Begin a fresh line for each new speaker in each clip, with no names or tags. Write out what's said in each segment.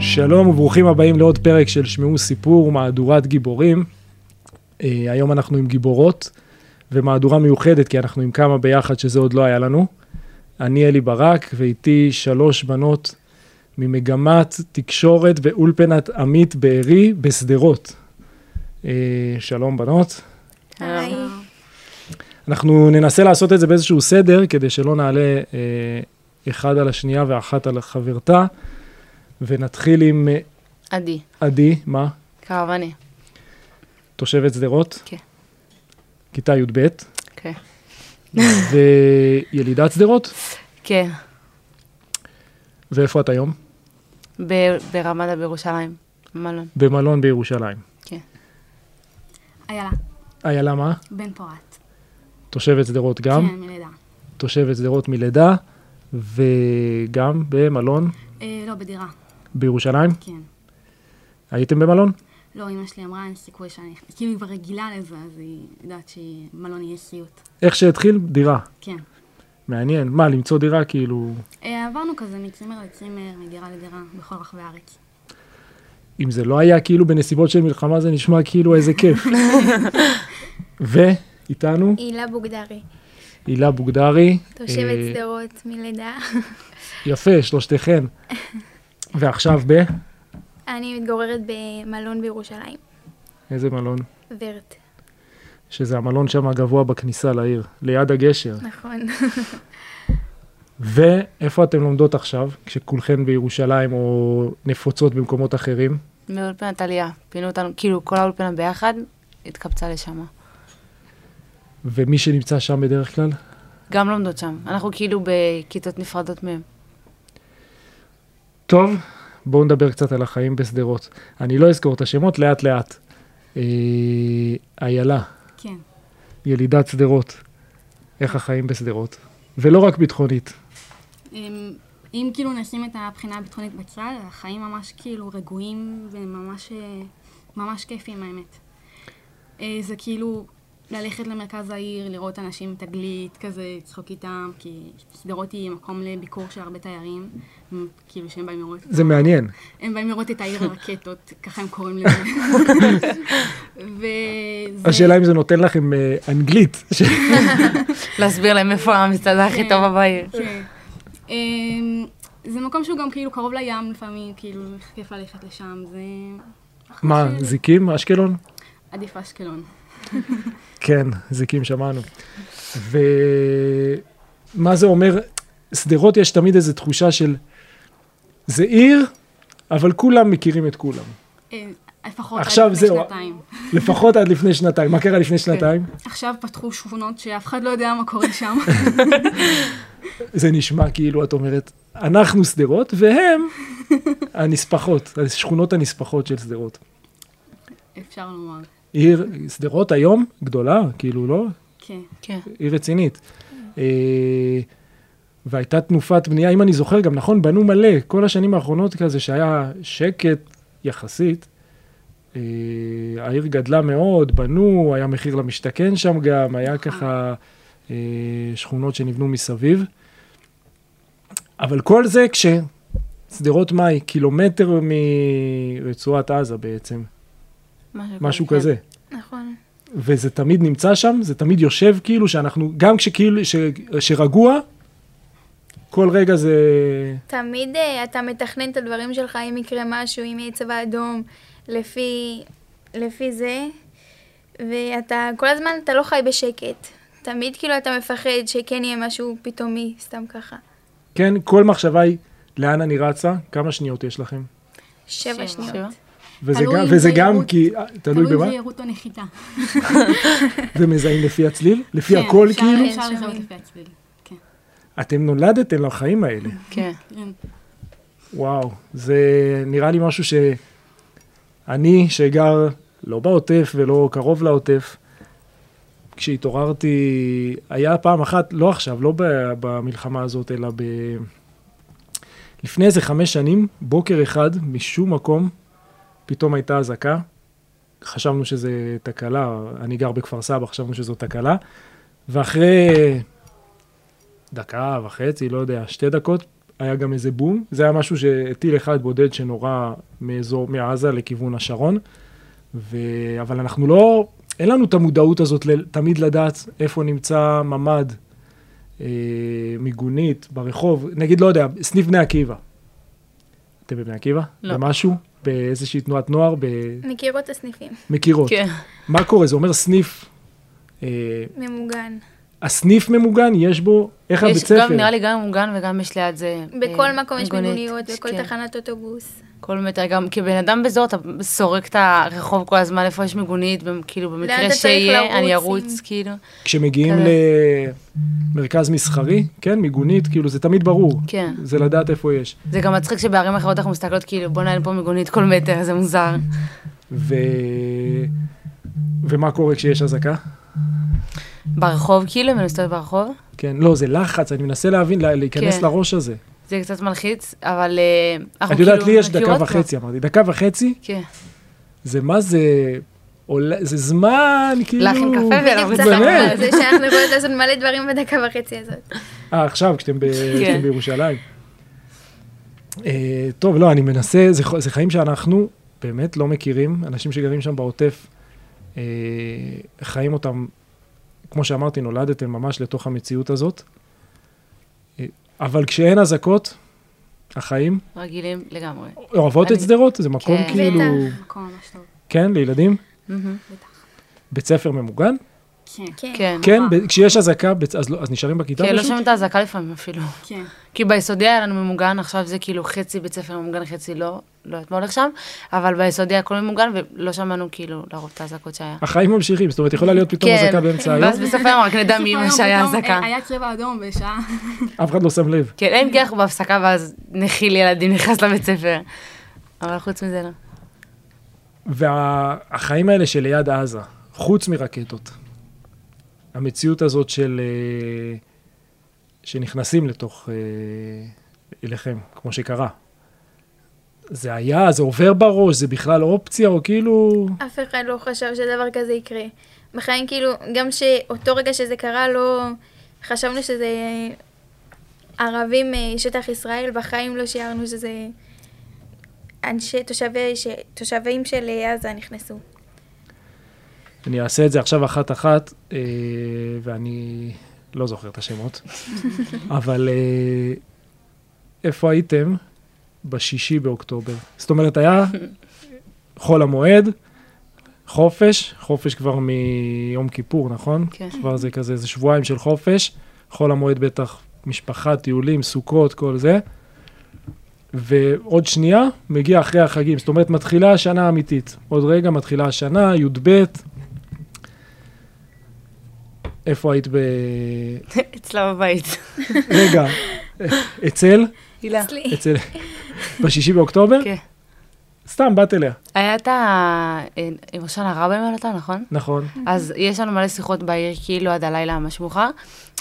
שלום וברוכים הבאים לעוד פרק של שמעו סיפור, מהדורת גיבורים. אה, היום אנחנו עם גיבורות, ומהדורה מיוחדת, כי אנחנו עם כמה ביחד שזה עוד לא היה לנו. אני אלי ברק, ואיתי שלוש בנות ממגמת תקשורת באולפנת עמית בארי בשדרות. אה, שלום בנות.
היי.
אנחנו ננסה לעשות את זה באיזשהו סדר, כדי שלא נעלה אה, אחד על השנייה ואחת על חברתה, ונתחיל עם אה,
עדי,
עדי, מה?
קרוואני.
תושבת שדרות?
כן.
כיתה י"ב,
כן.
וילידת שדרות?
כן.
ואיפה את היום?
ב- ברמאללה בירושלים. מלון.
במלון בירושלים.
איילה,
איילה מה?
בן פורת.
תושבת שדרות גם,
כן, מלידה.
תושבת שדרות מלידה, וגם במלון
אה, לא, בדירה,
בירושלים.
כן.
הייתם במלון?
לא, אמא שלי אמרה, אין סיכוי שאני... כאילו, היא כבר רגילה לזה, אז היא יודעת שמלון יהיה סיוט.
איך שהתחיל, דירה.
כן.
מעניין. מה, למצוא דירה כאילו,
אה, עברנו כזה מצימר לצימר, מדירה לדירה, בכל רחבי הארץ.
אם זה לא היה כאילו בנסיבות של מלחמה, זה נשמע כאילו איזה כיף. ואיתנו
הילה בוגדרי,
הילה בוגדרי.
תושבת
אה,
שדרות מלידה.
יפה, שלושתכן. ועכשיו ב?
אני מתגוררת במלון בירושלים,
איזה מלון?
ורט,
שזה המלון שם הגבוה בכניסה לעיר, ליד הגשר.
נכון.
ואיפה אתן לומדות עכשיו, כשכולכן בירושלים או נפוצות במקומות אחרים?
מאולפנת עלייה. פינו אותנו, כאילו, כל האולפנה ביחד, התקבצה לשם.
ומי שנמצא שם בדרך כלל?
גם לומדות שם. אנחנו כאילו בכיתות נפרדות מהם.
טוב, בואו נדבר קצת על החיים בשדרות. אני לא אזכור את השמות, לאט לאט. אה, איילה,
כן.
ילידת שדרות, איך החיים בשדרות? ולא רק ביטחונית.
אמ, אם כאילו נשים את הבחינה הביטחונית בצד, החיים ממש כאילו רגועים וממש אה, ממש כיפים האמת. אה, זה כאילו ללכת למרכז העיר, לראות אנשים עם תגלית, כזה לצחוק איתם, כי שדרות היא מקום לביקור של הרבה תיירים, הם, כאילו שהם באים לראות,
זה מעניין.
הם באים לראות את העיר הרקטות, ככה הם קוראים לזה. וזה...
השאלה אם זה נותן לכם אה, אנגלית.
להסביר להם איפה המסעדה הכי טובה בעיר.
כן. אמ, זה מקום שהוא גם כאילו קרוב לים לפעמים, כאילו כיף ללכת לשם, זה
מה, זיקים, אשקלון?
עדיף אשקלון.
כן, זיקים שמענו. ומה זה אומר? שדרות יש תמיד איזו תחושה של זה עיר, אבל כולם מכירים את כולם.
אה, לפחות עד
עכשיו
לפני
זהו. אה.
שנתיים.
לפחות עד לפני שנתיים. מה קרה לפני שנתיים?
עכשיו פתחו שכונות שאף אחד לא יודע מה קורה שם.
זה נשמע כאילו את אומרת, אנחנו שדרות והם הנספחות, השכונות הנספחות של שדרות.
אפשר לומר.
עיר, שדרות היום גדולה, כאילו לא,
כן.
כן.
היא רצינית. אה, והייתה תנופת בנייה, אם אני זוכר גם נכון, בנו מלא, כל השנים האחרונות כזה שהיה שקט יחסית. אה, העיר גדלה מאוד, בנו, היה מחיר למשתכן שם גם, היה ככה אה, שכונות שנבנו מסביב. אבל כל זה כששדרות מאי, קילומטר מרצועת עזה בעצם, משהו
כזה.
כזה.
נכון.
וזה תמיד נמצא שם, זה תמיד יושב כאילו שאנחנו, גם כשכאילו, ש, שרגוע, כל רגע זה...
תמיד אה, אתה מתכנן את הדברים שלך, אם יקרה משהו, אם יהיה צבא אדום, לפי, לפי זה, ואתה כל הזמן, אתה לא חי בשקט. תמיד כאילו אתה מפחד שכן יהיה משהו פתאומי, סתם ככה.
כן, כל מחשבה היא לאן אני רצה, כמה שניות יש לכם.
שבע
שבע.
שניות.
שבע?
וזה
תלוי
גם,
אם
וזה
זה
גם
יירוט.
כי, אה, תלוי
תלוי
במה,
זהירות או נחיתה.
ומזהים לפי הצליל, לפי
כן,
הכל
אפשר-
כאילו.
כן,
אפשר לזהות
שומעים.
לפי הצליל. כן.
אתם נולדתם לחיים האלה.
כן.
כן.
וואו, זה נראה לי משהו שאני, שגר לא בעוטף ולא קרוב לעוטף, כשהתעוררתי, היה פעם אחת, לא עכשיו, לא ב- במלחמה הזאת, אלא ב... לפני איזה חמש שנים, בוקר אחד, משום מקום, פתאום הייתה אזעקה. חשבנו שזה תקלה, אני גר בכפר סבא, חשבנו שזו תקלה. ואחרי דקה וחצי, לא יודע, שתי דקות, היה גם איזה בום, זה היה משהו שטיל אחד בודד שנורה מאזור, מעזה לכיוון השרון, ו... אבל אנחנו לא, אין לנו את המודעות הזאת ל... תמיד לדעת איפה נמצא ממ"ד, אה, מיגונית, ברחוב, נגיד, לא יודע, סניף בני עקיבא. אתם בבני עקיבא?
לא.
במשהו? באיזושהי תנועת נוער?
מכירות את הסניפים,
במכירות.
כן.
מה קורה? זה אומר סניף, אה,
ממוגן.
הסניף ממוגן, יש בו, איך הבית
יש גם,
ספר?
נראה לי, גם מוגן וגם יש ליד זה... אה,
בכל מקום יש
מיגונית.
מיגוניות, בכל
כן.
תחנת אוטובוס.
כל מטר, גם כבן אדם בזו, אתה סורק את הרחוב כל הזמן, איפה יש מיגונית, במ- כאילו
לאן
במקרה
אתה צריך לרוץ,
שיהיה, אני
אם-
ארוץ, כאילו.
כשמגיעים
כזה.
למרכז מסחרי, כן, מיגונית, כאילו, זה תמיד ברור.
כן.
זה לדעת איפה יש.
זה גם מצחיק שבערים אחרות אנחנו מסתכלות, כאילו, בוא'נה, אין פה מיגונית כל מטר, זה מוזר.
ו... ומה קורה כשיש אזעקה?
ברחוב, כאילו, אם אני מסתובבת ברחוב,
כן, לא, זה לחץ, אני מנסה להבין, לה- להיכנס
כן.
לראש הזה.
זה קצת מלחיץ, אבל אה, אנחנו
את
כאילו...
יודעת, לי יש דקה
מכירות כבר.
וחצי, אמרתי, דקה וחצי,
כן.
זה מה זה, עולה- זה זמן, כאילו...
להכין קפה ו-
בדיוק
כן, אבל
צחקנו
באמת.
על זה שאנחנו יכולות לעשות מלא דברים בדקה וחצי הזאת.
אה, עכשיו, כשאתם ב- כשאתם
כן.
בירושלים. אה, טוב, לא, אני מנסה, זה ח- זה חיים שאנחנו באמת לא מכירים, אנשים שגרים שם בעוטף, אה, חיים אותם, כמו שאמרתי, נולדתם ממש לתוך המציאות הזאת. אה, אבל כשאין אזעקות, החיים
רגילים לגמרי.
אוהבות את
אני-
שדרות, זה מקום
כן.
כאילו...
בטח.
מקום ממש טוב.
כן, לילדים?
מהמם.
בית ספר ממוגן?
כן,
כן.
כן.
כן, ב- כשיש אזעקה, בית- אז לא- אז נשארים בכיתה
כן, לא
פשוט?
שומעים את האזעקה לפעמים אפילו.
כן.
כי ביסודי היה לנו ממוגן, עכשיו זה כאילו חצי בית ספר ממוגן, חצי לא, לא יודעת מה הולך שם, אבל ביסודי הכל ממוגן, ולא שמענו כאילו לרוב את האזעקות שהיה.
החיים ממשיכים, זאת אומרת, יכולה להיות פתאום
כן.
אזעקה באמצע היום,
ואז בסוף היום רק נדע מי מה שהיה
פתאום,
אזעקה.
אה, היה צבע אדום בשעה.
אף אחד לא שם לב.
כן, אין גיח בהפסקה, ואז נחיל ילדים נכנס לבית ספר. אבל חוץ מזה לא.
והחיים האלה שליד עזה, חוץ מרקטות, המציאות הזאת של... אה, שנכנסים לתוך... אה, אליכם, כמו שקרה. זה היה, זה עובר בראש, זה בכלל אופציה, או כאילו...
אף אחד לא חשב שדבר כזה יקרה. בחיים כאילו, גם שאותו רגע שזה קרה, לא חשבנו שזה ערבים אה, שטח ישראל, בחיים לא שיערנו שזה אנשי תושבי, ש... תושבים של אה, עזה נכנסו.
אני אעשה את זה עכשיו אחת-אחת, אה, ואני לא זוכר את השמות, אבל אה, איפה הייתם בשישי באוקטובר? זאת אומרת, היה חול המועד, חופש, חופש כבר מיום כיפור, נכון?
כן.
כבר זה כזה, זה שבועיים של חופש, חול המועד בטח, משפחה, טיולים, סוכות, כל זה. ועוד שנייה, מגיע אחרי החגים, זאת אומרת, מתחילה השנה האמיתית. עוד רגע מתחילה השנה, י"ב. איפה היית ב...
אצלה בבית.
רגע, אצל? לא.
הילה.
אצלי.
אצל... בשישי באוקטובר?
כן.
סתם, באת אליה.
היה את ה... אה, עם ראשון הרע במילותה, נכון?
נכון.
אז יש לנו מלא שיחות בעיר, כאילו עד הלילה ממש מאוחר.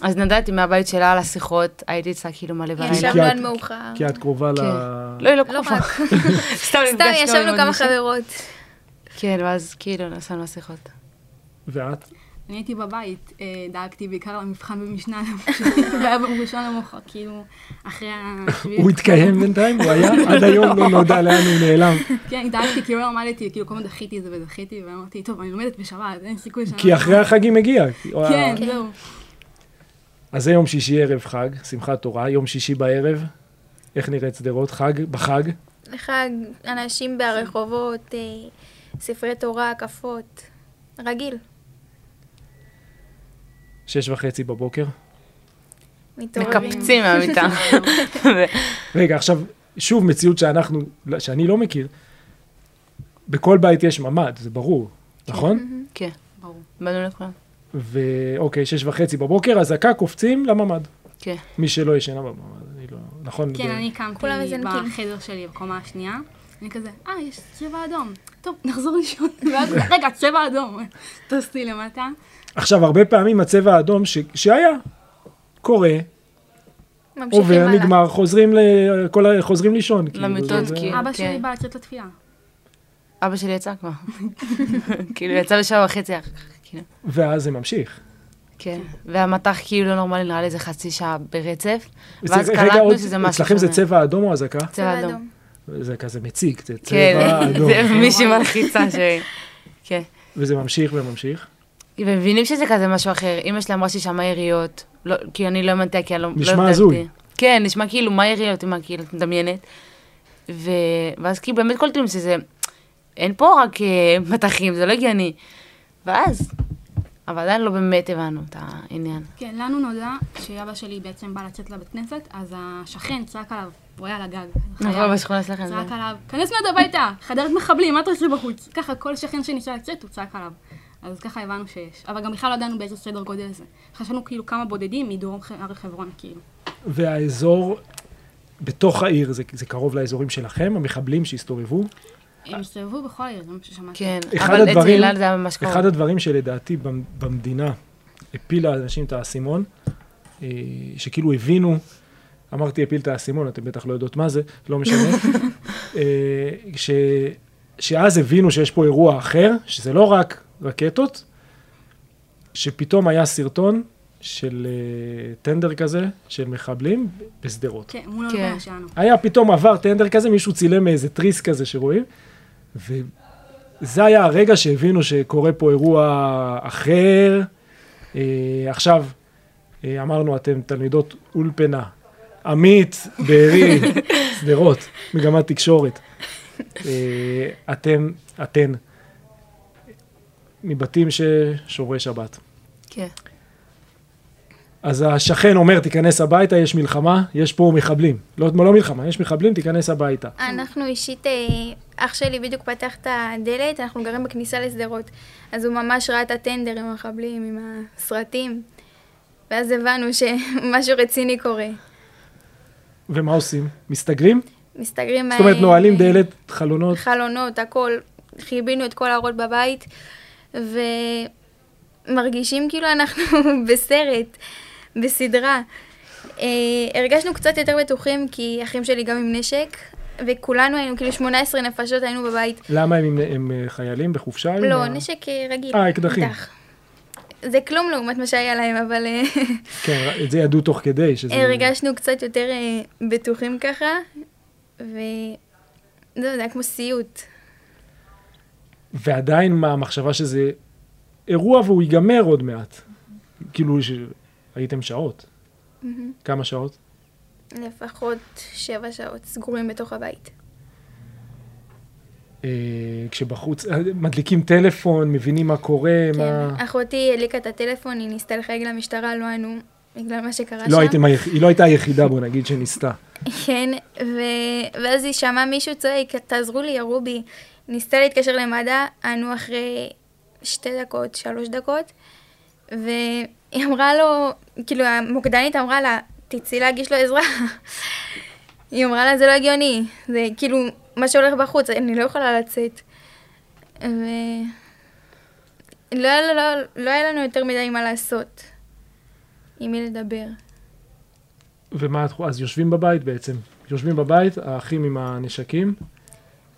אז נדדתי מהבית שלה על השיחות, הייתי אצלה כאילו מלא בלילה.
ישבנו
כי
עד
את-
מאוחר.
כי את קרובה ל...
לא, היא לא
לא
קרובה.
רק.
סתם
סתם
נפגשנו עם
ישבנו
עוד
כמה
מישהו.
חברות.
כן, ואז כאילו נסענו לשיחות.
ואת?
לא.
אני הייתי בבית, אה, דאגתי בעיקר למבחן במשנה, והיה ביום ראשון למוחר, כאילו, אחרי השביעי.
הוא התקיים בינתיים? הוא היה? עד היום לא נודע לאן הוא נעלם.
כן, דאגתי, כאילו לא למדתי, כאילו כל הזמן דחיתי את זה ודחיתי, ואמרתי, טוב, אני לומדת בשבת, אין סיכוי שאני... לא
כי אחרי החגים הגיע.
כן, זהו.
אז זה יום שישי ערב חג, שמחת תורה, יום שישי בערב. איך נראית שדרות? חג, בחג.
חג, אנשים ברחובות, אה, ספרי תורה, הקפות. רגיל.
שש וחצי בבוקר.
מתעוררים.
מקפצים מהמיטה.
רגע, עכשיו, שוב מציאות שאנחנו, שאני לא מכיר. בכל בית יש ממ"ד, זה ברור, נכון?
כן,
ברור.
באנו לכולם.
ואוקיי, אוקיי, שש וחצי בבוקר, אזעקה, קופצים לממ"ד.
כן.
מי שלא ישנה בממ"ד, אני לא... נכון?
כן,
ב-
אני קמתי
כולם מזנקים.
בחדר שלי בקומה השנייה, אני כזה, אה, יש צבע אדום, טוב, נחזור לישון, ואז, רגע, צבע אדום, טסתי למטה,
עכשיו, הרבה פעמים הצבע האדום ש... שהיה, קורה,
ממשיכים
עובר,
הלאה.
נגמר, חוזרים, ל... כל ה... חוזרים לישון. כאילו,
למיטות,
זה- זה-
כאילו.
אבא שלי
כן.
בא לצאת לתפילה.
אבא שלי יצא כבר. כאילו, יצא בשעה וחצי אחר כך, כאילו.
ואז זה ממשיך.
כן. והמטח כאילו לא נורמלי, נראה לי איזה חצי שעה ברצף. ואז
אצל- רגע, עוד-
קלטנו שזה משהו שונה.
אצלכם זה צבע אדום או אזעקה?
צבע אדום.
זה כזה מציק, זה
כן,
צבע אדום.
זה מישהי מלחיצה ש... כן.
וזה ממשיך וממשיך.
ומבינים שזה כזה משהו אחר. אמא שלי אמרה ששמעה יריות. לא, כי אני לא האמנתי, כי אני לא...
נשמע
לא הבדלתי.
הזוי.
כן, נשמע כאילו, מה יריות, מה כאילו, את מדמיינת. ו... ואז כאילו באמת קולטים שזה... אין פה רק אה, מטחים, זה לא הגיוני. ואז... אבל עדיין לא באמת הבנו את העניין.
כן, לנו נודע שאבא שלי בעצם בא לצאת לבית כנסת, אז השכן צעק עליו, הוא היה על הגג.
נכון,
חייל.
בשכונה שלכם.
צעק
זה-
עליו, כנס מיד הביתה, חדרת מחבלים, מה אתה עושה בחוץ? ככה כל שכן שניסה לצאת, הוא צעק עליו. אז ככה הבנו שיש. אבל גם בכלל לא ידענו באיזה סדר גודל זה. חשבנו כאילו כמה בודדים מדרום ח- הר חברון, כאילו.
והאזור בתוך העיר, זה, זה קרוב לאזורים שלכם, המחבלים שהסתובבו.
הם הסתובבו בכל העיר, זה מה ששמעתי.
אה, כן,
אחד
אבל אצל
הדברים-
אילן זה היה ממש קרוב.
אחד הדברים שלדעתי במ- במדינה הפיל לאנשים את האסימון, אה, שכאילו הבינו, אמרתי הפיל את האסימון, אתם בטח לא יודעות מה זה, לא משנה, אה, ש, שאז הבינו שיש פה אירוע אחר, שזה לא רק רקטות, שפתאום היה סרטון של אה, טנדר כזה, של מחבלים בשדרות.
כן, מול
כן.
הלבנה שלנו.
היה פתאום עבר טנדר כזה, מישהו צילם איזה תריס כזה שרואים, וזה היה הרגע שהבינו שקורה פה אירוע אחר. אה, עכשיו, אה, אמרנו, אתם תלמידות אולפנה, עמית, בארי, שדרות, מגמת תקשורת. אה, אתם, אתן, מבתים ששומרי שבת.
כן.
אז השכן אומר, תיכנס הביתה, יש מלחמה, יש פה מחבלים. לא, לא מלחמה, יש מחבלים, תיכנס הביתה.
אנחנו אישית, אה, אח שלי בדיוק פתח את הדלת, אנחנו גרים בכניסה לשדרות. אז הוא ממש ראה את הטנדר עם המחבלים, עם הסרטים. ואז הבנו שמשהו רציני קורה.
ומה עושים? מסתגרים?
מסתגרים...
זאת אומרת,
אה,
נועלים דלת, חלונות.
חלונות, הכל. חיבינו את כל האורות בבית, ומרגישים כאילו אנחנו בסרט, בסדרה. אה, הרגשנו קצת יותר בטוחים, כי אחים שלי גם עם נשק, וכולנו היינו, כאילו 18 נפשות היינו בבית.
למה הם, הם אה, חיילים בחופשה? היום?
לא,
מה?
נשק אה, רגיל.
אה, אקדחים.
אקדח. זה כלום לעומת מה שהיה להם, אבל אה,
כן, את זה ידעו תוך כדי, שזה...
הרגשנו קצת יותר אה, בטוחים ככה, וזהו, זה היה כמו סיוט.
ועדיין מה, המחשבה שזה אירוע והוא ייגמר עוד מעט. כאילו, ש... הייתם שעות. כמה שעות?
לפחות שבע שעות סגורים בתוך הבית.
אה, כשבחוץ, אה, מדליקים טלפון, מבינים מה קורה, מה...
כן, אחותי הדליקה את הטלפון, היא ניסתה לחייג למשטרה, לא ענו, בגלל מה שקרה שם.
לא הייתם היח... היא לא הייתה היחידה, בוא נגיד, שניסתה.
כן, ו... ואז היא שמעה מישהו צועק, תעזרו לי, ירו בי. ניסתה להתקשר למד"א, ענו אחרי שתי דקות, שלוש דקות, והיא אמרה לו, כאילו המוקדנית אמרה לה, תצאי להגיש לו עזרה. היא אמרה לה, זה לא הגיוני, זה כאילו מה שהולך בחוץ, אני לא יכולה לצאת. ו... לא, היה- לא, לא היה לנו יותר מדי מה לעשות, עם מי לדבר.
ומה התחום? אז יושבים בבית בעצם. יושבים בבית, האחים עם הנשקים.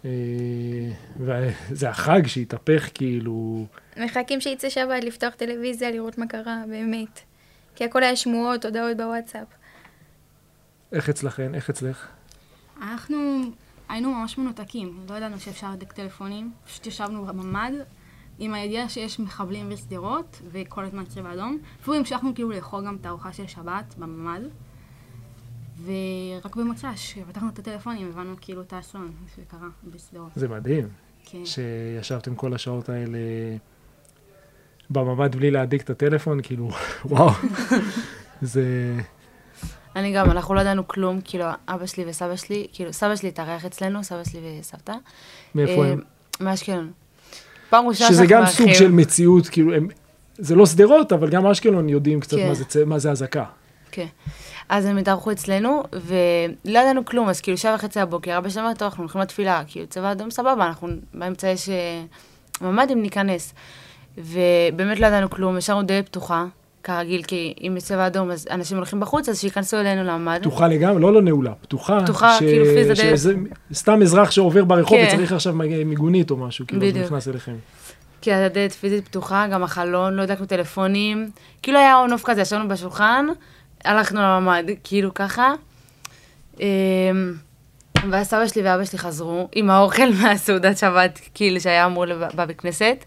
אה, וזה החג שהתהפך כאילו,
מחכים שיצא שבת לפתוח טלוויזיה, לראות מה קרה, באמת. כי הכל היה שמועות, הודעות בוואטסאפ.
איך אצלכן, איך אצלך?
אנחנו היינו ממש מנותקים, לא ידענו שאפשר לדק טלפונים, פשוט ישבנו בממ"ד עם הידיעה שיש מחבלים בשדרות וכל הזמן צבע אדום. אפילו המשכנו כאילו לאכול גם את הארוחה של שבת בממ"ד, ורק במוצ"ש, כשפתחנו את הטלפונים, הבנו כאילו את האסון שקרה בשדרות.
זה מדהים
כן.
שישבתם כל השעות האלה בממ"ד בלי להדליק את הטלפון, כאילו, וואו. זה...
אני גם, אנחנו לא ידענו כלום, כאילו, אבא שלי וסבא שלי, כאילו, סבא שלי התארח אצלנו, סבא שלי וסבתא.
מאיפה
אה,
הם?
מאשקלון. פעם ראשונה
שזה
שאנחנו
גם סוג
מארחים.
של מציאות, כאילו, הם... זה לא שדרות, אבל גם אשקלון יודעים קצת
כן.
מה זה צ- מה זה אזעקה.
כן. אז הם התארחו אצלנו, ולא ידענו כלום, אז כאילו שעה וחצי הבוקר, אבא שלי אמר, טוב, אנחנו הולכים לתפילה, כאילו צבע אדום סבבה, אנחנו באמצע יש אה, ממ"דים, ניכנס. ובאמת לא ידענו כלום, השארנו דלת פתוחה, כרגיל, כי אם יש צבע אדום, אז אנשים הולכים בחוץ, אז שייכנסו אלינו לממ"ד.
פתוחה לגמרי, לא לא נעולה, פתוחה.
פתוחה, כאילו, פיז הדלת.
שזה- סתם אזרח שעובר ברחוב
כן.
וצריך עכשיו מג- מיגונית או משהו, כאילו, אז הוא
בדיוק.
נכנס אליכם.
כי הדלת פיזית פתוחה, גם החלון, לא הדלקנו טלפונים. כאילו היה עונוף כזה, ישבנו בשולחן, הלכנו לממ"ד, כאילו ככה. אמ, ואז סבא שלי ואבא שלי חזרו עם האוכל מהסעודת שבת, כאילו, שהיה אמור לב- בבית כנסת.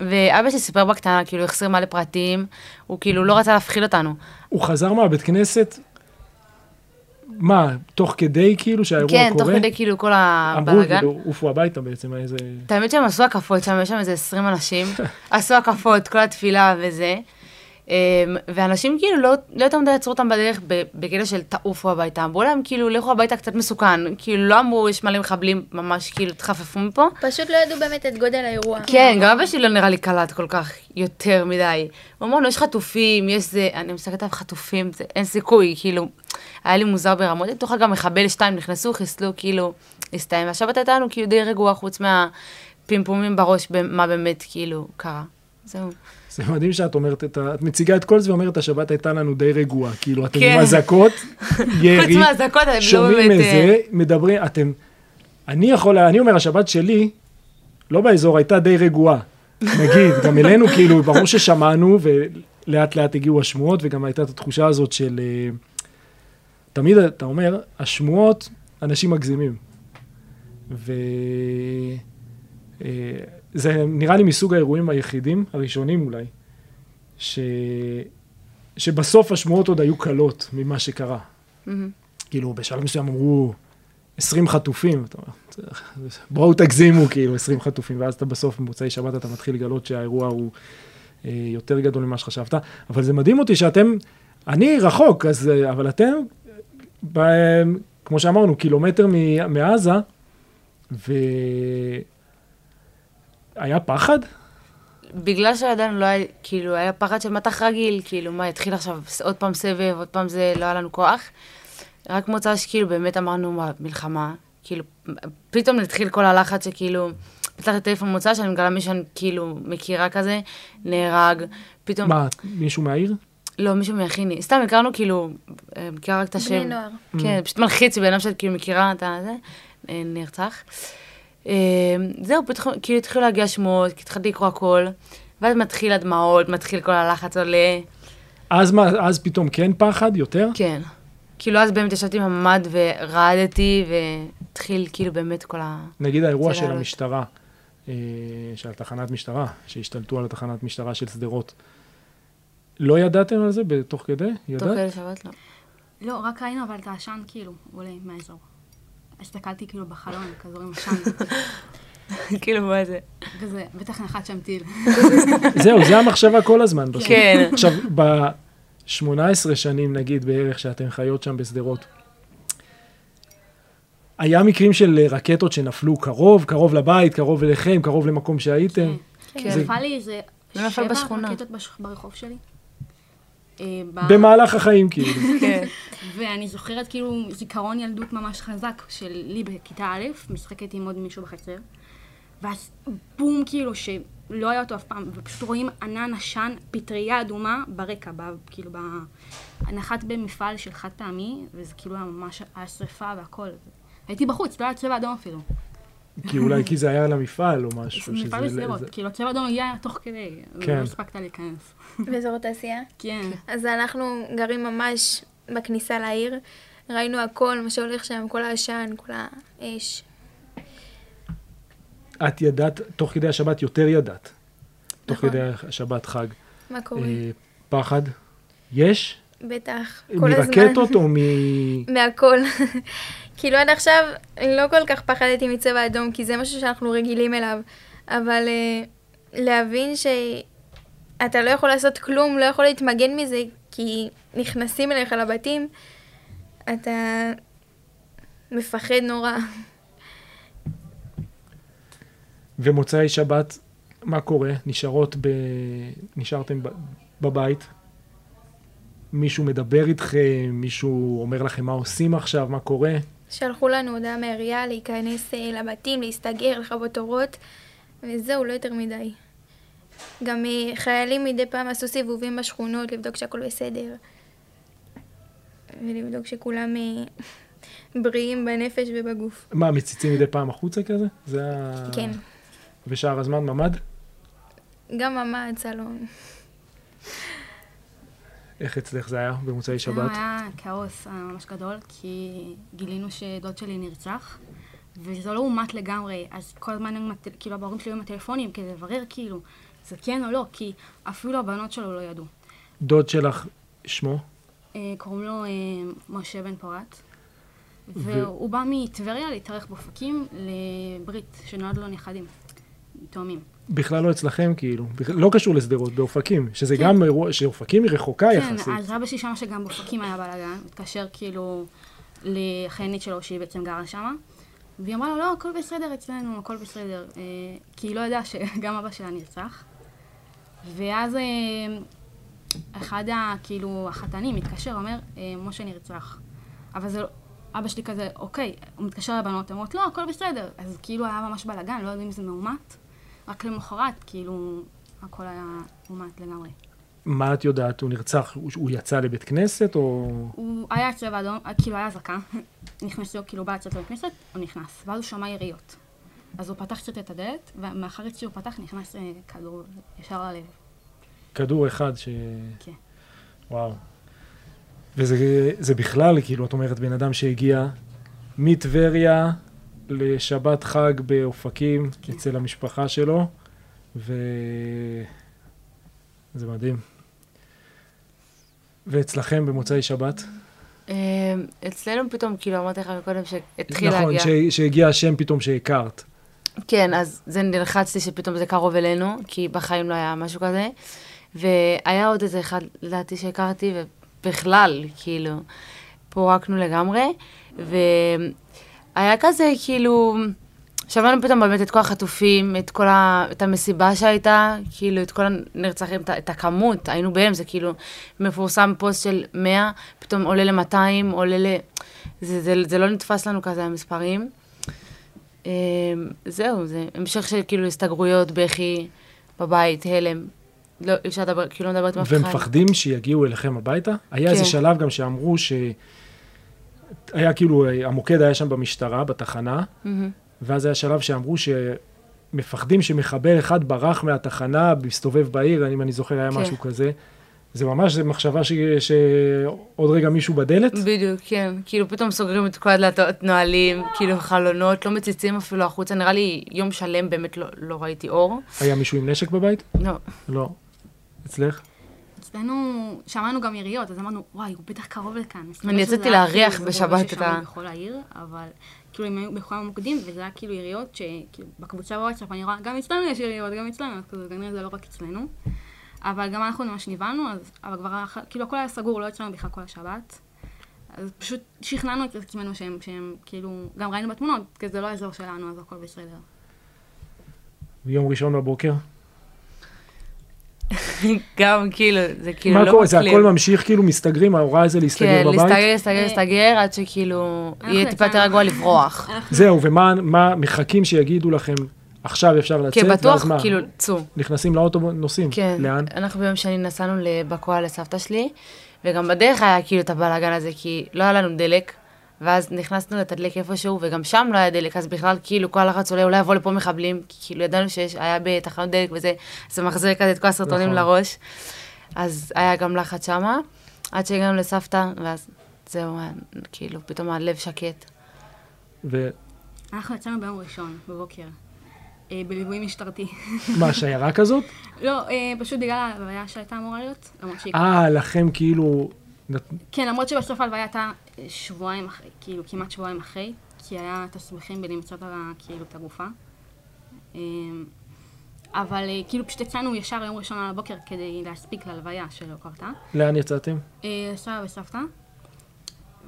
ואבא שלי סיפר בקטנה, כאילו, החסיר מלא פרטים, הוא כאילו לא רצה להפחיד אותנו.
הוא חזר מהבית כנסת, מה, תוך כדי כאילו שהאירוע
כן,
קורה?
תוך כדי כאילו כל
אמרו,
הבלאגן.
כאילו, עופו הביתה בעצם, היה איזה...
האמת שהם עשו הקפות שם, יש שם איזה 20 אנשים, עשו הקפות, כל התפילה וזה. אמ, ואנשים כאילו לא, לא יותר מדי עצרו אותם בדרך ב- בקטע של תעופו הביתה. אמרו להם כאילו, לכו הביתה קצת מסוכן. כאילו, לא אמרו, יש מלא מחבלים, ממש כאילו, תחפפו מפה.
פשוט לא ידעו באמת את גודל האירוע.
כן, גם אבא שלי לא נראה לי קלט כל כך יותר מדי. הוא אמר לו, יש חטופים, יש זה, אני מסתכלת עליו חטופים, זה, אין סיכוי, כאילו, היה לי מוזר ברמות, לתוך גם מחבל שתיים נכנסו, חיסלו, כאילו, הסתיים. והשבת הייתה לנו כאילו די רגועה, חוץ מהפימפומים בראש, מה באמת כאילו קרה. זהו.
זה מדהים שאת אומרת את ה... את מציגה את כל זה ואומרת, השבת הייתה לנו די רגועה. כאילו, אתם עם
כן.
אזעקות, ירי,
חוץ מהאזעקות, הם לא
שומעים
באמת,
איזה, מדברים, אתם... אני יכול, אני אומר, השבת שלי, לא באזור, הייתה די רגועה. נגיד, גם אלינו, כאילו, ברור ששמענו, ולאט לאט הגיעו השמועות, וגם הייתה את התחושה הזאת של... אה, תמיד אתה אומר, השמועות, אנשים מגזימים. ו... אה, זה נראה לי מסוג האירועים היחידים, הראשונים אולי, ש... שבסוף השמועות עוד היו קלות ממה שקרה.
מהמם.
כאילו, בשלב מסוים אמרו 20 חטופים, אתה אומר, "צריך- בואו תגזימו, כאילו, 20 חטופים, ואז אתה בסוף, במוצאי שבת, אתה מתחיל לגלות שהאירוע הוא אה, יותר גדול ממה שחשבת, אבל זה מדהים אותי שאתם, אני רחוק, אז, אה, אבל אתם, ב, כמו שאמרנו, קילומטר מ, מעזה, והיה פחד?
בגלל שידענו, לא היה, כאילו, היה פחד של מטח רגיל, כאילו, מה, יתחיל עכשיו ס- עוד פעם סבב, עוד פעם זה, לא היה לנו כוח. רק מוצא שכאילו, באמת אמרנו, מה, מלחמה, כאילו, פתאום התחיל כל הלחץ שכאילו, פתחתי טלפון מוצא שאני מגלה מישהו שאני כאילו מכירה כזה, נהרג, פתאום,
מה, מישהו מהעיר?
לא, מישהו מיחיני, סתם הכרנו כאילו, אה, מכירה רק את השם.
בני נוער.
כן, פשוט מלחיץ, בן אדם שאת כאילו מכירה את הזה, אה, נרצח. אה, זהו, פתחו, כאילו התחילו להגיע שמועות, כי התחלתי לקרוא הכל, ואז מתחיל הדמעות, מתחיל כל הלחץ עולה.
אז מה, אז פתאום כן פחד יותר?
כן. כאילו, אז באמת ישבתי בממ"ד ורעדתי, והתחיל כאילו באמת כל ה...
נגיד האירוע
זה
של
לעלות.
המשטרה, אה, של התחנת משטרה, שהשתלטו על התחנת משטרה של שדרות. לא ידעתם על זה בתוך כדי?
תוך
ידעת?
כדי שבת לא.
לא, רק ראינו אבל את העשן כאילו עולה מהאזור. הסתכלתי כאילו בחלון, כזו עם עשן,
כאילו, מה זה?
וזה בטח נחת שם טיל.
זהו, זה המחשבה כל הזמן בסוף.
כן.
עכשיו, ב-18 שנים נגיד בערך שאתן חיות שם בשדרות, היה מקרים של אה, רקטות שנפלו קרוב, קרוב לבית, קרוב אליכם, קרוב למקום שהייתם.
כן.
זה-
נפל לי איזה
זה נפל
שבע
בשכונה.
רקטות בש- ברחוב שלי. אה, ב-
במהלך החיים, כאילו.
כן.
ואני זוכרת כאילו זיכרון ילדות ממש חזק שלי בכיתה א', משחקת עם עוד מישהו בחצר, ואז בום כאילו שלא היה אותו אף פעם, ופשוט רואים ענן עשן, פטריה אדומה ברקע, ב, כאילו בהנחת במפעל של חד פעמי, וזה כאילו היה ממש השרפה והכל. הייתי בחוץ, לא היה צבע אדום אפילו.
כי אולי כי זה היה על המפעל או משהו. שזה-
מפעל בשדרות,
לא-
זה-
כאילו הצבע האדום הגיע תוך כדי,
כן.
ולא הספקת להיכנס.
באזור התעשייה.
כן.
אז אנחנו גרים ממש בכניסה לעיר, ראינו הכל, מה שהולך שם, כל העשן, כל האש.
את ידעת, תוך כדי השבת יותר ידעת. תוך
נכון.
כדי השבת חג.
מה קורה?
אה, פחד. יש?
בטח, כל הזמן.
מרקטות או מ...
מהכל. כאילו עד עכשיו לא כל כך פחדתי מצבע אדום, כי זה משהו שאנחנו רגילים אליו. אבל אה, להבין שאתה לא יכול לעשות כלום, לא יכול להתמגן מזה, כי נכנסים אליך לבתים, אתה מפחד נורא.
ומוצאי שבת, מה קורה? נשארות ב... נשארתם ב... בבית? מישהו מדבר איתכם? מישהו אומר לכם מה עושים עכשיו? מה קורה?
שלחו לנו הודעה מהעירייה להיכנס אה, לבתים, להסתגר, לכבות אורות, וזהו, לא יותר מדי. גם אה, חיילים מדי פעם עשו סיבובים בשכונות, לבדוק שהכל בסדר. ולבדוק שכולם אה, בריאים בנפש ובגוף.
אה. מה, מציצים מדי פעם החוצה כזה? זה ה...
כן.
ושאר הזמן ממ"ד?
גם עמד סלון.
איך אצלך זה היה במוצאי
אצלנו
שבת?
היה כאוס אה, ממש גדול, כי גילינו שדוד שלי נרצח, וזה לא אומת לגמרי, אז כל הזמן, הם הט- כאילו, ההורים שלי היו עם הטלפונים כדי לברר, כאילו, זה כן או לא, כי אפילו הבנות שלו לא ידעו.
דוד שלך, שמו?
אה, קוראים לו אה, משה בן פורת, והוא בא מטבריה להתארח באופקים לברית, שנולד לו נכדים, תאומים.
בכלל לא אצלכם, כאילו. בכ- לא קשור לשדרות, באופקים. שזה גם אירוע, שאופקים היא רחוקה יחסית.
כן, אז אבא שלי שמע שגם באופקים היה בלאגן, התקשר כאילו לחיינית שלו, שהיא בעצם גרה שמה, והיא אמרה לו, לא, הכל בסדר אצלנו, הכל בסדר, אה, כי היא לא ידעה שגם אבא שלה נרצח. ואז אה, אחד ה... כאילו, החתנים מתקשר, אומר, אה, משה נרצח. אבל זה לא... אבא שלי כזה, אוקיי, הוא מתקשר לבנות, הן אומרות, לא, הכל בסדר. אז כאילו היה ממש בלאגן, לא יודעים אם זה מאומת. רק למחרת, כאילו, הכל היה מאומת לגמרי.
מה את יודעת? הוא נרצח, הוא- הוא יצא לבית כנסת, או...
הוא היה צבע אדום, כאילו היה אזעקה, נכנסו, כאילו בא לצאת לבית כנסת, הוא נכנס, ואז הוא שמע יריות. אז הוא פתח קצת את הדלת, ומאחרת שהוא פתח נכנס אה, כדור ישר ללב.
כדור אחד ש...
כן.
וואו. וזה זה בכלל, כאילו, את אומרת, בן אדם שהגיע מטבריה לשבת חג באופקים,
כן.
אצל המשפחה שלו, ו... זה מדהים. ואצלכם במוצאי שבת?
אה, אצלנו פתאום, כאילו, אמרתי לך מקודם שהתחיל להגיע.
נכון, ש... שהגיע השם פתאום שהכרת.
כן, אז זה נלחצתי שפתאום זה קרוב אלינו, כי בחיים לא היה משהו כזה. והיה עוד איזה אחד, לדעתי, שהכרתי, ובכלל, כאילו, פורקנו לגמרי. והיה כזה, כאילו, שמענו פתאום באמת את כל החטופים, את כל ה... את המסיבה שהייתה, כאילו, את כל הנרצחים, את, ה- את הכמות, היינו בהם, זה כאילו מפורסם פוסט של 100, פתאום עולה ל-200, עולה ל... זה, זה, זה לא נתפס לנו כזה, המספרים. אמ, זהו, זה המשך של כאילו הסתגרויות, בכי, בבית, הלם. לא, אי אפשר לדבר, כאילו לא מדברת עם אף אחד.
והם מפחדים שיגיעו אליכם הביתה? היה איזה
כן.
שלב גם שאמרו ש... היה כאילו, אה, המוקד היה שם במשטרה, בתחנה,
מהמם.
ואז היה שלב שאמרו שמפחדים שמחבל אחד ברח מהתחנה, מסתובב בעיר, אם אני זוכר, היה
כן.
משהו כזה. זה ממש, זה מחשבה ש... שעוד רגע מישהו בדלת?
בדיוק, כן. כאילו פתאום סוגרים את כל הדלתות, נועלים, כאילו חלונות, לא מציצים אפילו החוצה. נראה לי יום שלם באמת לא, לא ראיתי אור.
היה מישהו עם נשק בבית?
לא.
לא. אצלך?
אצלנו, שמענו גם יריות, אז אמרנו, וואי, הוא בטח קרוב לכאן. מסתבר
אני
שזה
יצאתי
היה
להריח
כאילו, זה
בשבת
בואש
את
ששמעו
ה-
בכל העיר, אבל כאילו הם היו בכל המוקדים, וזה היה כאילו יריות שכאילו בקבוצה בוואטסאפ אני רואה, גם אצלנו יש יריות, גם אצלנו, אז כאילו כנראה זה לא רק אצלנו. אבל גם אנחנו ממש נבהלנו, אז, אבל כבר, היה- כאילו הכל היה סגור, לא אצלנו בכלל כל השבת. אז פשוט שכנענו את עצמנו שהם, שהם כאילו, גם ראינו בתמונות, כי זה לא האזור שלנו, אז הכל בסדר.
יום ראשון בבוקר?
גם כאילו, זה כאילו
מה
לא
קורה? זה
מקליב.
הכל ממשיך, כאילו מסתגרים, ההוראה זה
כן,
להסתגר בבית?
להסתגר, להסתגר, להסתגר, עד שכאילו
אה, אנחנו
יהיה טיפה יותר
יצאנו.
רגוע לברוח.
זהו, ומה מה מחכים שיגידו לכם, עכשיו אפשר לצאת,
כן, בטוח,
ואז מה?
כאילו, צאו.
נכנסים לאוטובוס, נוסעים.
כן.
לאן?
אנחנו ביום שני נסענו לבקועה לסבתא שלי, וגם בדרך היה כאילו את הבלאגן הזה, כי לא היה לנו דלק, ואז נכנסנו לתדלק איפשהו, וגם שם לא היה דלק, אז בכלל כאילו כל הלחץ עולה, אולי יבוא לפה מחבלים, כי כאילו ידענו שיש, היה בתחנות דלק וזה, זה מחזיר כזה את כל הסרטונים
נכון.
לראש. אז היה גם לחץ שמה, עד שהגענו לסבתא, ואז זהו, היה, כאילו, פתאום הלב שקט.
ומה,
אנחנו יצאנו ביום ראשון, בבוקר, אה, בליווי משטרתי.
שיירה כזאת?
לא, אה, פשוט בגלל ההלוויה שהייתה אמורה להיות, למרות שהיא...
אה, לכם כאילו... נת-
כן, למרות שבסוף ההלוויה הייתה אה, שבועיים אחרי, כאילו כמעט שבועיים אחרי, כי היה תסמיכים בלמצוא את ה- כאילו את הגופה. אה, אבל אה, כאילו פשוט יצאנו ישר יום ראשון על הבוקר כדי להספיק להלוויה שלא קרתה.
לאן יצאתם?
אה, סבא וסבתא.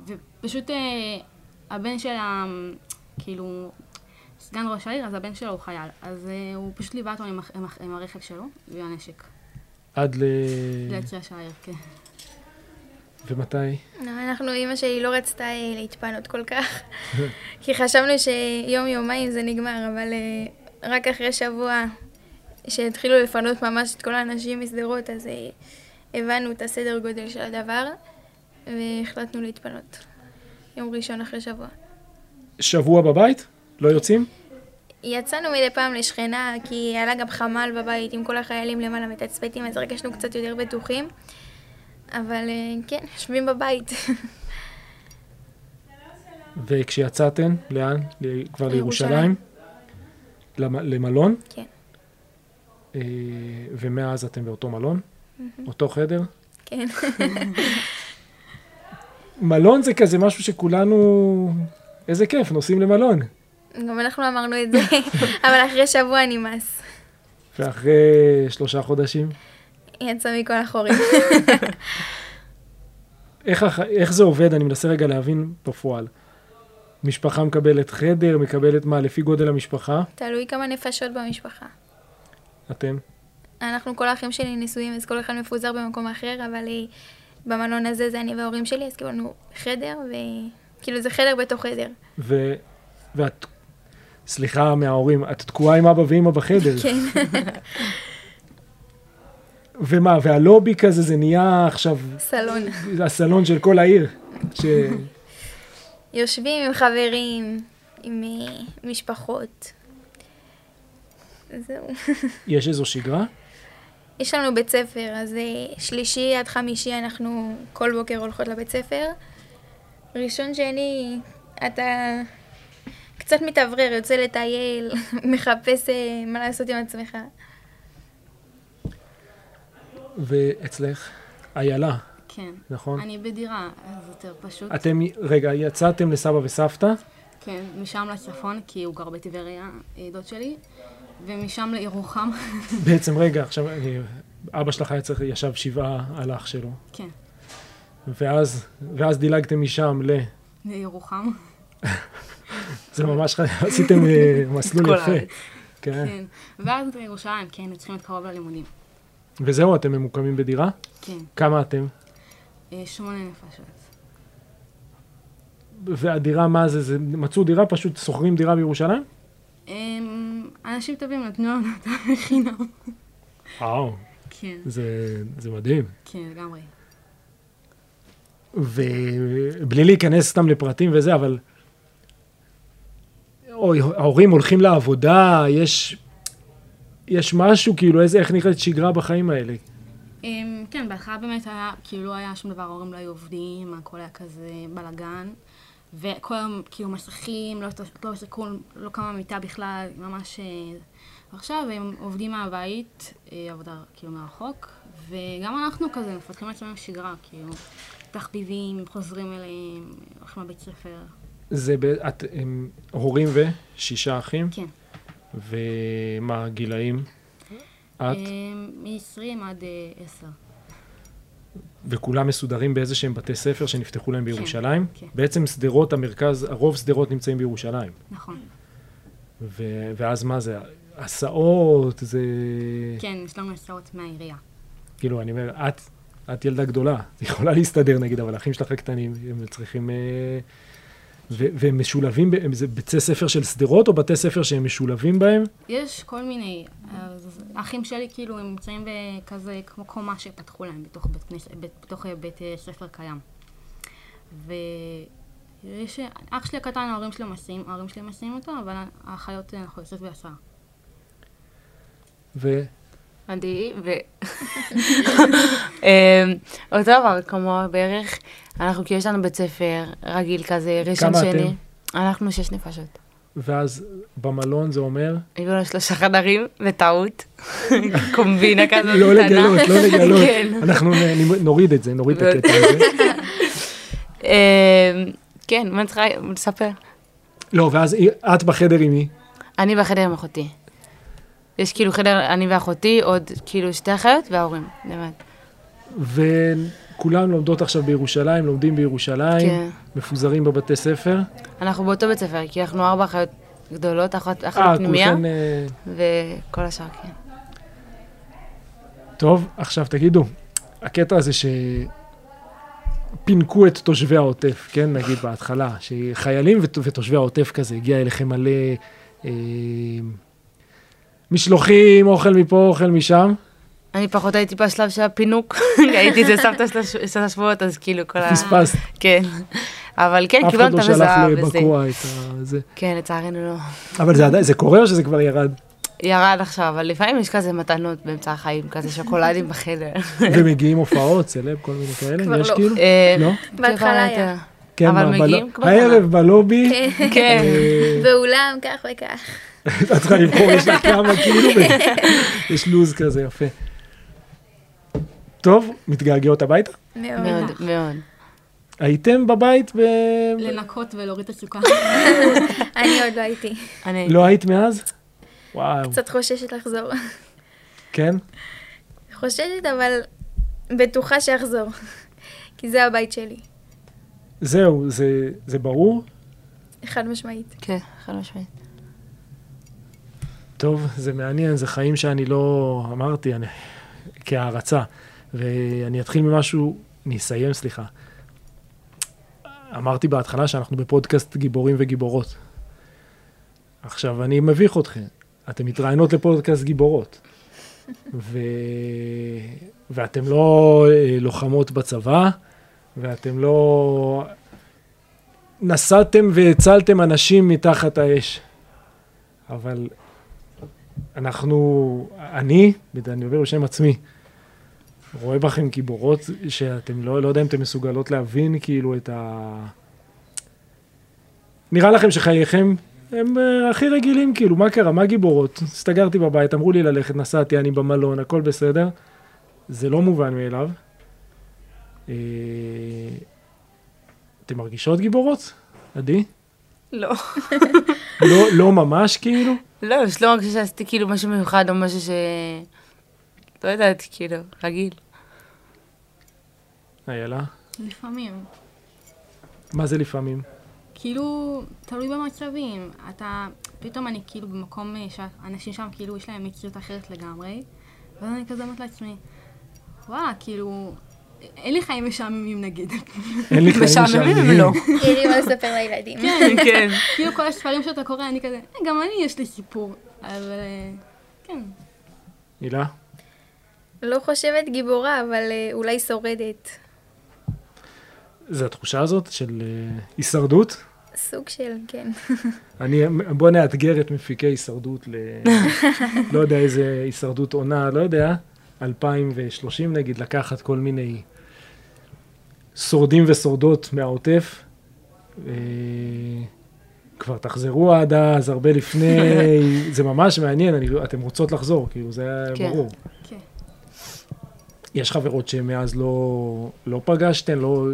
ופשוט אה, הבן של ה... כאילו, סגן ראש העיר, אז הבן שלו הוא חייל. אז אה, הוא פשוט ליווה אותו עם, הח- עם, הח- עם הרכב שלו והנשק.
עד ל... אה.
ליציאה של העיר, כן.
ומתי?
לא, אנחנו, אימא שלי לא רצתה אה, להתפנות כל כך, כי חשבנו שיום-יומיים זה נגמר, אבל אה, רק אחרי שבוע שהתחילו לפנות ממש את כל האנשים משדרות, אז אה, הבנו את הסדר גודל של הדבר, והחלטנו להתפנות. יום ראשון אחרי שבוע.
שבוע בבית? לא יוצאים?
יצאנו מדי פעם לשכנה, כי עלה גם חמ"ל בבית עם כל החיילים למעלה מתצפתים, אז הרגשנו קצת יותר בטוחים. אבל אה, כן, יושבים בבית.
וכשיצאתם, לאן? ל- כבר
לירושלים.
לירושלים? למ- למלון?
כן.
אה, ומאז אתם באותו מלון? אותו חדר?
כן.
מלון זה כזה משהו שכולנו... איזה כיף, נוסעים למלון.
גם אנחנו אמרנו את זה, אבל אחרי שבוע נמאס.
ואחרי שלושה חודשים,
יצא מכל החורים.
איך, הח- איך זה עובד? אני מנסה רגע להבין בפועל. משפחה מקבלת חדר, מקבלת מה? לפי גודל המשפחה?
תלוי כמה נפשות במשפחה.
אתם?
אנחנו, כל האחים שלי נשואים, אז כל אחד מפוזר במקום אחר, אבל אה, במלון הזה זה אני וההורים שלי, אז קיבלנו חדר, וכאילו זה חדר בתוך חדר.
ו... ואת... סליחה מההורים, את תקועה עם אבא ואמא בחדר.
כן.
ומה, והלובי כזה, זה נהיה עכשיו
סלון.
הסלון של כל העיר. ש...
יושבים עם חברים, עם אה, משפחות. זהו.
יש איזו שגרה?
יש לנו בית ספר, אז אה, שלישי עד חמישי אנחנו כל בוקר הולכות לבית ספר. ראשון, שני, אתה קצת מתאוורר, יוצא לטייל, מחפש אה, מה לעשות עם עצמך.
ואצלך? איילה,
כן.
נכון?
אני בדירה, אז יותר פשוט.
אתם, רגע, יצאתם לסבא וסבתא,
כן, משם לצפון, כי הוא גר בטבריה, אה, דוד שלי, ומשם לירוחם.
בעצם רגע, עכשיו, אני, אבא שלך היה צריך, ישב שבעה על אח שלו,
כן,
ואז, ואז דילגתם משם ל...
לירוחם.
זה ממש, ח- עשיתם אה, מסלול
כל
יפה.
הארץ.
כן.
כן. ואז לירושלים, כן, צריכים להיות קרוב ללימודים.
וזהו, אתם ממוקמים בדירה?
כן,
כמה אתם?
אה, שמונה נפשות.
והדירה, מה זה, זה, מצאו דירה, פשוט שוכרים דירה בירושלים?
אמ, אנשים טובים נתנו לנו אותה בחינם.
וואו,
כן,
זה, זה מדהים.
כן, לגמרי.
ובלי להיכנס סתם לפרטים וזה, אבל... אוי, ההורים הולכים לעבודה, יש... יש משהו, כאילו, איזה, איך נראית שגרה בחיים האלה?
אמ, כן, בהתחלה באמת היה, כאילו לא היה שום דבר, ההורים לא היו עובדים, הכל היה כזה בלאגן. וכל היום כאילו מסכים, לא הת- לא סיכון, לא קמה מיטה בכלל, ממש... אה, עכשיו הם עובדים מהבית, אה, עבודה כאילו מרחוק, וגם אנחנו כזה מפתחים לעצמנו שגרה, כאילו תחביבים, חוזרים אליהם, הולכים לבית ספר,
זה, ב... את הם, הורים ושישה אחים?
כן.
ומה הגילאים? את?
אה, מ-20 אמ, עד אה, 10.
וכולם מסודרים באיזה שהם בתי ספר שנפתחו להם בירושלים?
כן.
בעצם שדרות, המרכז, הרוב שדרות נמצאים בירושלים.
נכון.
ו... ואז מה זה? הסעות, זה...
כן, יש לנו הסעות מהעירייה.
כאילו, אני אומר, את, את ילדה גדולה, את יכולה להסתדר נגיד, אבל האחים שלך הקטנים, הם צריכים... אה, ו- והם משולבים, ב- הם- זה בתי ספר של שדרות או בתי ספר שהם משולבים בהם?
יש כל מיני, אז האחים שלי כאילו הם נמצאים בכזה כמו קומה שפתחו להם בתוך בית, כנס- בית, בתוך אה, בית אה, ספר קיים. ויש, אח שלי הקטן, ההורים שלו מסיעים, ההורים שלי מסיעים אותו, אבל האחיות אה, אנחנו יוצאות בהסעה.
ו...
מדהים, ו... אמ, אותו דבר, כמו בערך, אנחנו כאילו יש לנו בית ספר רגיל כזה, ראשון
כמה
שני. אנחנו שש נפשות.
ואז במלון זה אומר...
הביאו לנו שלושה חדרים, בטעות. קומבינה כזאת
לא לגלות, לא לגלות.
כן.
אנחנו נ- נוריד את זה, נוריד את
ו-
הקטע הזה.
אמ, כן, מה אני צריכה לספר?
לא, ואז היא- את בחדר עם מי?
אני בחדר עם אחותי. יש כאילו חדר, אני ואחותי, עוד כאילו שתי אחיות וההורים, באמת.
וכולם לומדות עכשיו בירושלים, לומדים בירושלים,
כן.
מפוזרים בבתי ספר.
אנחנו באותו בית ספר, כי אנחנו ארבע אחיות גדולות, אחת
אה,
אחת פנימייה,
כולכן, אה,
וכל השאר, כן.
טוב, עכשיו תגידו, הקטע הזה שפינקו את תושבי העוטף, כן, נגיד בהתחלה, שחיילים ות- ותושבי העוטף כזה, הגיע אליכם מלא אה, משלוחים, אוכל מפה, אוכל משם,
אני פחות הייתי בשלב של הפינוק, הייתי אצל סבתא של השבועות, אז כאילו כל ה...
פספסת.
כן. אבל כן,
אף אחד
קיבלנו
לא
את הזהב
שלח
וזה.
לבקוע את זה.
כן, לצערנו לא.
אבל זה עדיין, זה קורה או שזה כבר ירד?
ירד עכשיו, אבל לפעמים יש כזה מתנות באמצע החיים, כזה שוקולדים בחדר.
ומגיעים הופעות, סלב, כל מיני כאלה?
כבר
יש
לא.
כאילו?
אה,
לא?
בהתחלה היה.
כן,
אבל
מה,
מגיעים
בלו-
כבר.
הערב בלובי,
כן.
באולם, כך וכך.
את צריכה לבחור, יש לה כמה כאילו, ו- יש לו"ז כזה יפה. טוב, מתגעגעות הביתה?
מאוד.
מאוד, מאוד.
הייתם בבית ב...
לנקות ולהוריד את הסוכר.
אני עוד לא הייתי.
אני...
לא היית מאז? וואו,
קצת חוששת לחזור.
כן?
חוששת, אבל בטוחה שאחזור. כי זה הבית שלי,
זהו, זה- זה ברור?
חד משמעית.
כן, חד משמעית.
טוב, זה מעניין, זה חיים שאני לא אמרתי, אני... כהערצה. ואני אתחיל ממשהו, אני אסיים, סליחה. אמרתי בהתחלה שאנחנו בפודקאסט גיבורים וגיבורות. עכשיו, אני מביך אתכם. אתם מתראיינות לפודקאסט גיבורות. ו... ואתם לא אה, לוחמות בצבא, ואתם לא... נסעתם והצלתם אנשים מתחת האש. אבל אנחנו, אני, אני מדבר בשם עצמי, רואה בכם גיבורות שאתם לא, לא יודע אם אתם מסוגלות להבין כאילו את ה... נראה לכם שחייכם הם אה, הכי רגילים, כאילו, מה קרה, מה גיבורות? הסתגרתי בבית, אמרו לי ללכת, נסעתי, אני במלון, הכל בסדר. זה לא מובן מאליו. אה, אתם מרגישות גיבורות? עדי?
לא.
לא, לא ממש כאילו?
לא, יש לא מרגישה שעשיתי כאילו משהו מיוחד או משהו ש... לא יודעת, כאילו, רגיל.
איילה?
לפעמים.
אה, מה זה לפעמים?
כאילו, תלוי במצבים. אתה, פתאום אני כאילו במקום אה, שאנשים שם כאילו יש להם מציאות אחרת לגמרי, ואז אני כזה אומרת לעצמי, וואה, כאילו, אין לי חיים משעממים נגיד.
אין לי חיים
משעממים הם
משעממים.
לא.
יהיה לי מה לספר לילדים.
כן.
כאילו כל הספרים שאתה קורא, אני כזה, "אה, גם אני יש לי סיפור. אבל אה, כן,
הילה?
לא חושבת גיבורה, אבל אה, אולי שורדת.
זה התחושה הזאת של אה, הישרדות?
סוג של, כן.
אני, בוא נאתגר את מפיקי הישרדות ל... לא יודע איזה הישרדות עונה, לא יודע, 2030 נגיד, לקחת כל מיני שורדים ושורדות מהעוטף. אה, כבר תחזרו עד אז, הרבה לפני, זה ממש מעניין, אני, אתם רוצות לחזור, כאילו, זה היה
כן.
ברור.
כן.
יש חברות שמאז לא, לא פגשתן, לא,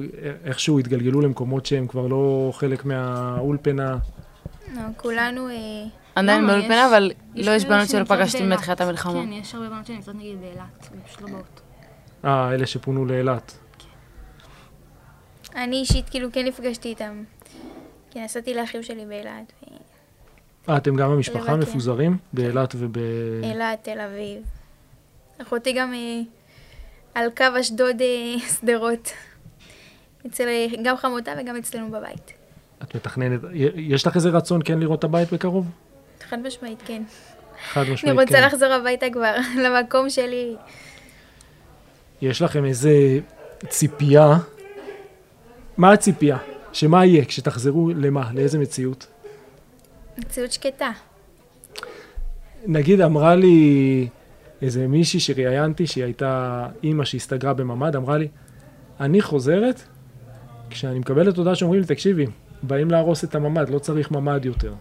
איכשהו התגלגלו למקומות שהם כבר לא חלק מהאולפנה.
לא, כולנו... אה,
עדיין
למה?
באולפנה,
יש-
אבל
יש
לא יש
כאלה
בנות שלא
שנמצאות
פגשתי
באילת.
מתחילת המלחמה.
כן, יש הרבה בנות שנמצאות נגיד באילת, והן פשוט לא באות.
אה, אלה שפונו לאילת.
אני אישית כאילו כן נפגשתי איתם. כי נסעתי לאחים שלי באילת. ו-
אה, אתם גם המשפחה
לבקר.
מפוזרים? באילת וב...
כן. אילת, תל אביב. אחותי גם אה, על קו אשדוד אה, שדרות. אצל אה, גם חמותה וגם אצלנו בבית.
את מתכננת, יש לך איזה רצון כן לראות את הבית בקרוב?
חד משמעית, כן.
חד משמעית,
אני רוצה
כן.
לחזור הביתה כבר, למקום שלי.
יש לכם איזה ציפייה? מה הציפייה? שמה יהיה? כשתחזרו למה? לאיזה מציאות?
מציאות שקטה.
נגיד אמרה לי איזה מישהי שראיינתי, שהיא הייתה אימא שהסתגרה בממ"ד, אמרה לי, אני חוזרת כשאני מקבלת הודעה שאומרים לי, תקשיבי, באים להרוס את הממ"ד, לא צריך ממ"ד יותר.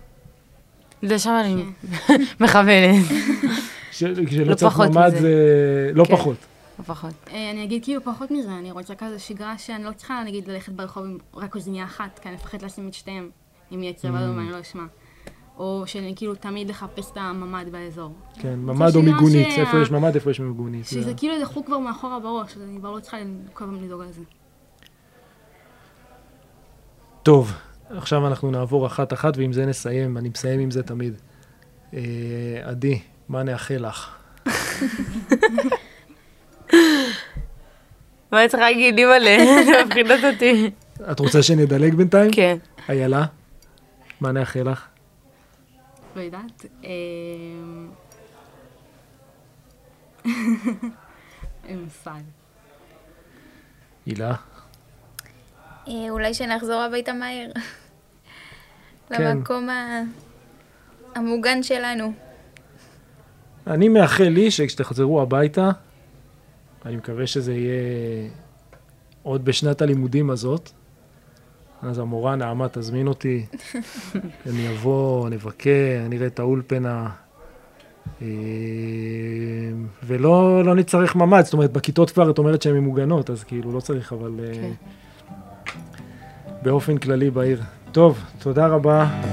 זה שם אני כן. מכוונת,
ש- כשלא
לא
צריך
פחות
ממ"ד
מזה.
זה... לא
כן.
פחות.
לפחות.
אה, אני אגיד כאילו פחות מזה, אני רוצה כזה שגרה שאני לא צריכה נגיד ללכת ברחוב עם רק אוזניה אחת, כי אני מפחדת לשים את שתיהם, אם יהיה צבע אדום ואני לא אשמע. או שאני כאילו תמיד לחפש את הממ"ד באזור.
כן, ממ"ד או
שגרה
מיגונית,
שה-
איפה יש ממ"ד, איפה יש מיגונית.
שזה
זה-
כאילו איזה חוג כבר מאחורה בראש, אז אני כבר לא צריכה כל הזמן לדאוג לזה.
טוב, עכשיו אנחנו נעבור אחת-אחת, ועם זה נסיים, אני מסיים עם זה תמיד. אה, עדי, מה נאחל לך?
מה אני צריכה להגיד, אימא'לה, מפחידות אותי.
את רוצה שנדלג בינתיים?
כן.
איילה, מה נאחל לך?
לא יודעת. אמ, אין מושג.
הילה,
אה, אולי שנחזור הביתה מהר.
כן.
למקום ה- המוגן שלנו.
אני מאחל לי שכשתחזרו הביתה, אני מקווה שזה יהיה עוד בשנת הלימודים הזאת, אז המורה נעמה תזמין אותי, אני אבוא, נבקר, נראה את האולפנה, אה, ולא לא נצטרך ממ"ד, זאת אומרת, בכיתות כבר את אומרת שהן ממוגנות, אז כאילו לא צריך, אבל אה,
כן.
באופן כללי בעיר. טוב, תודה רבה.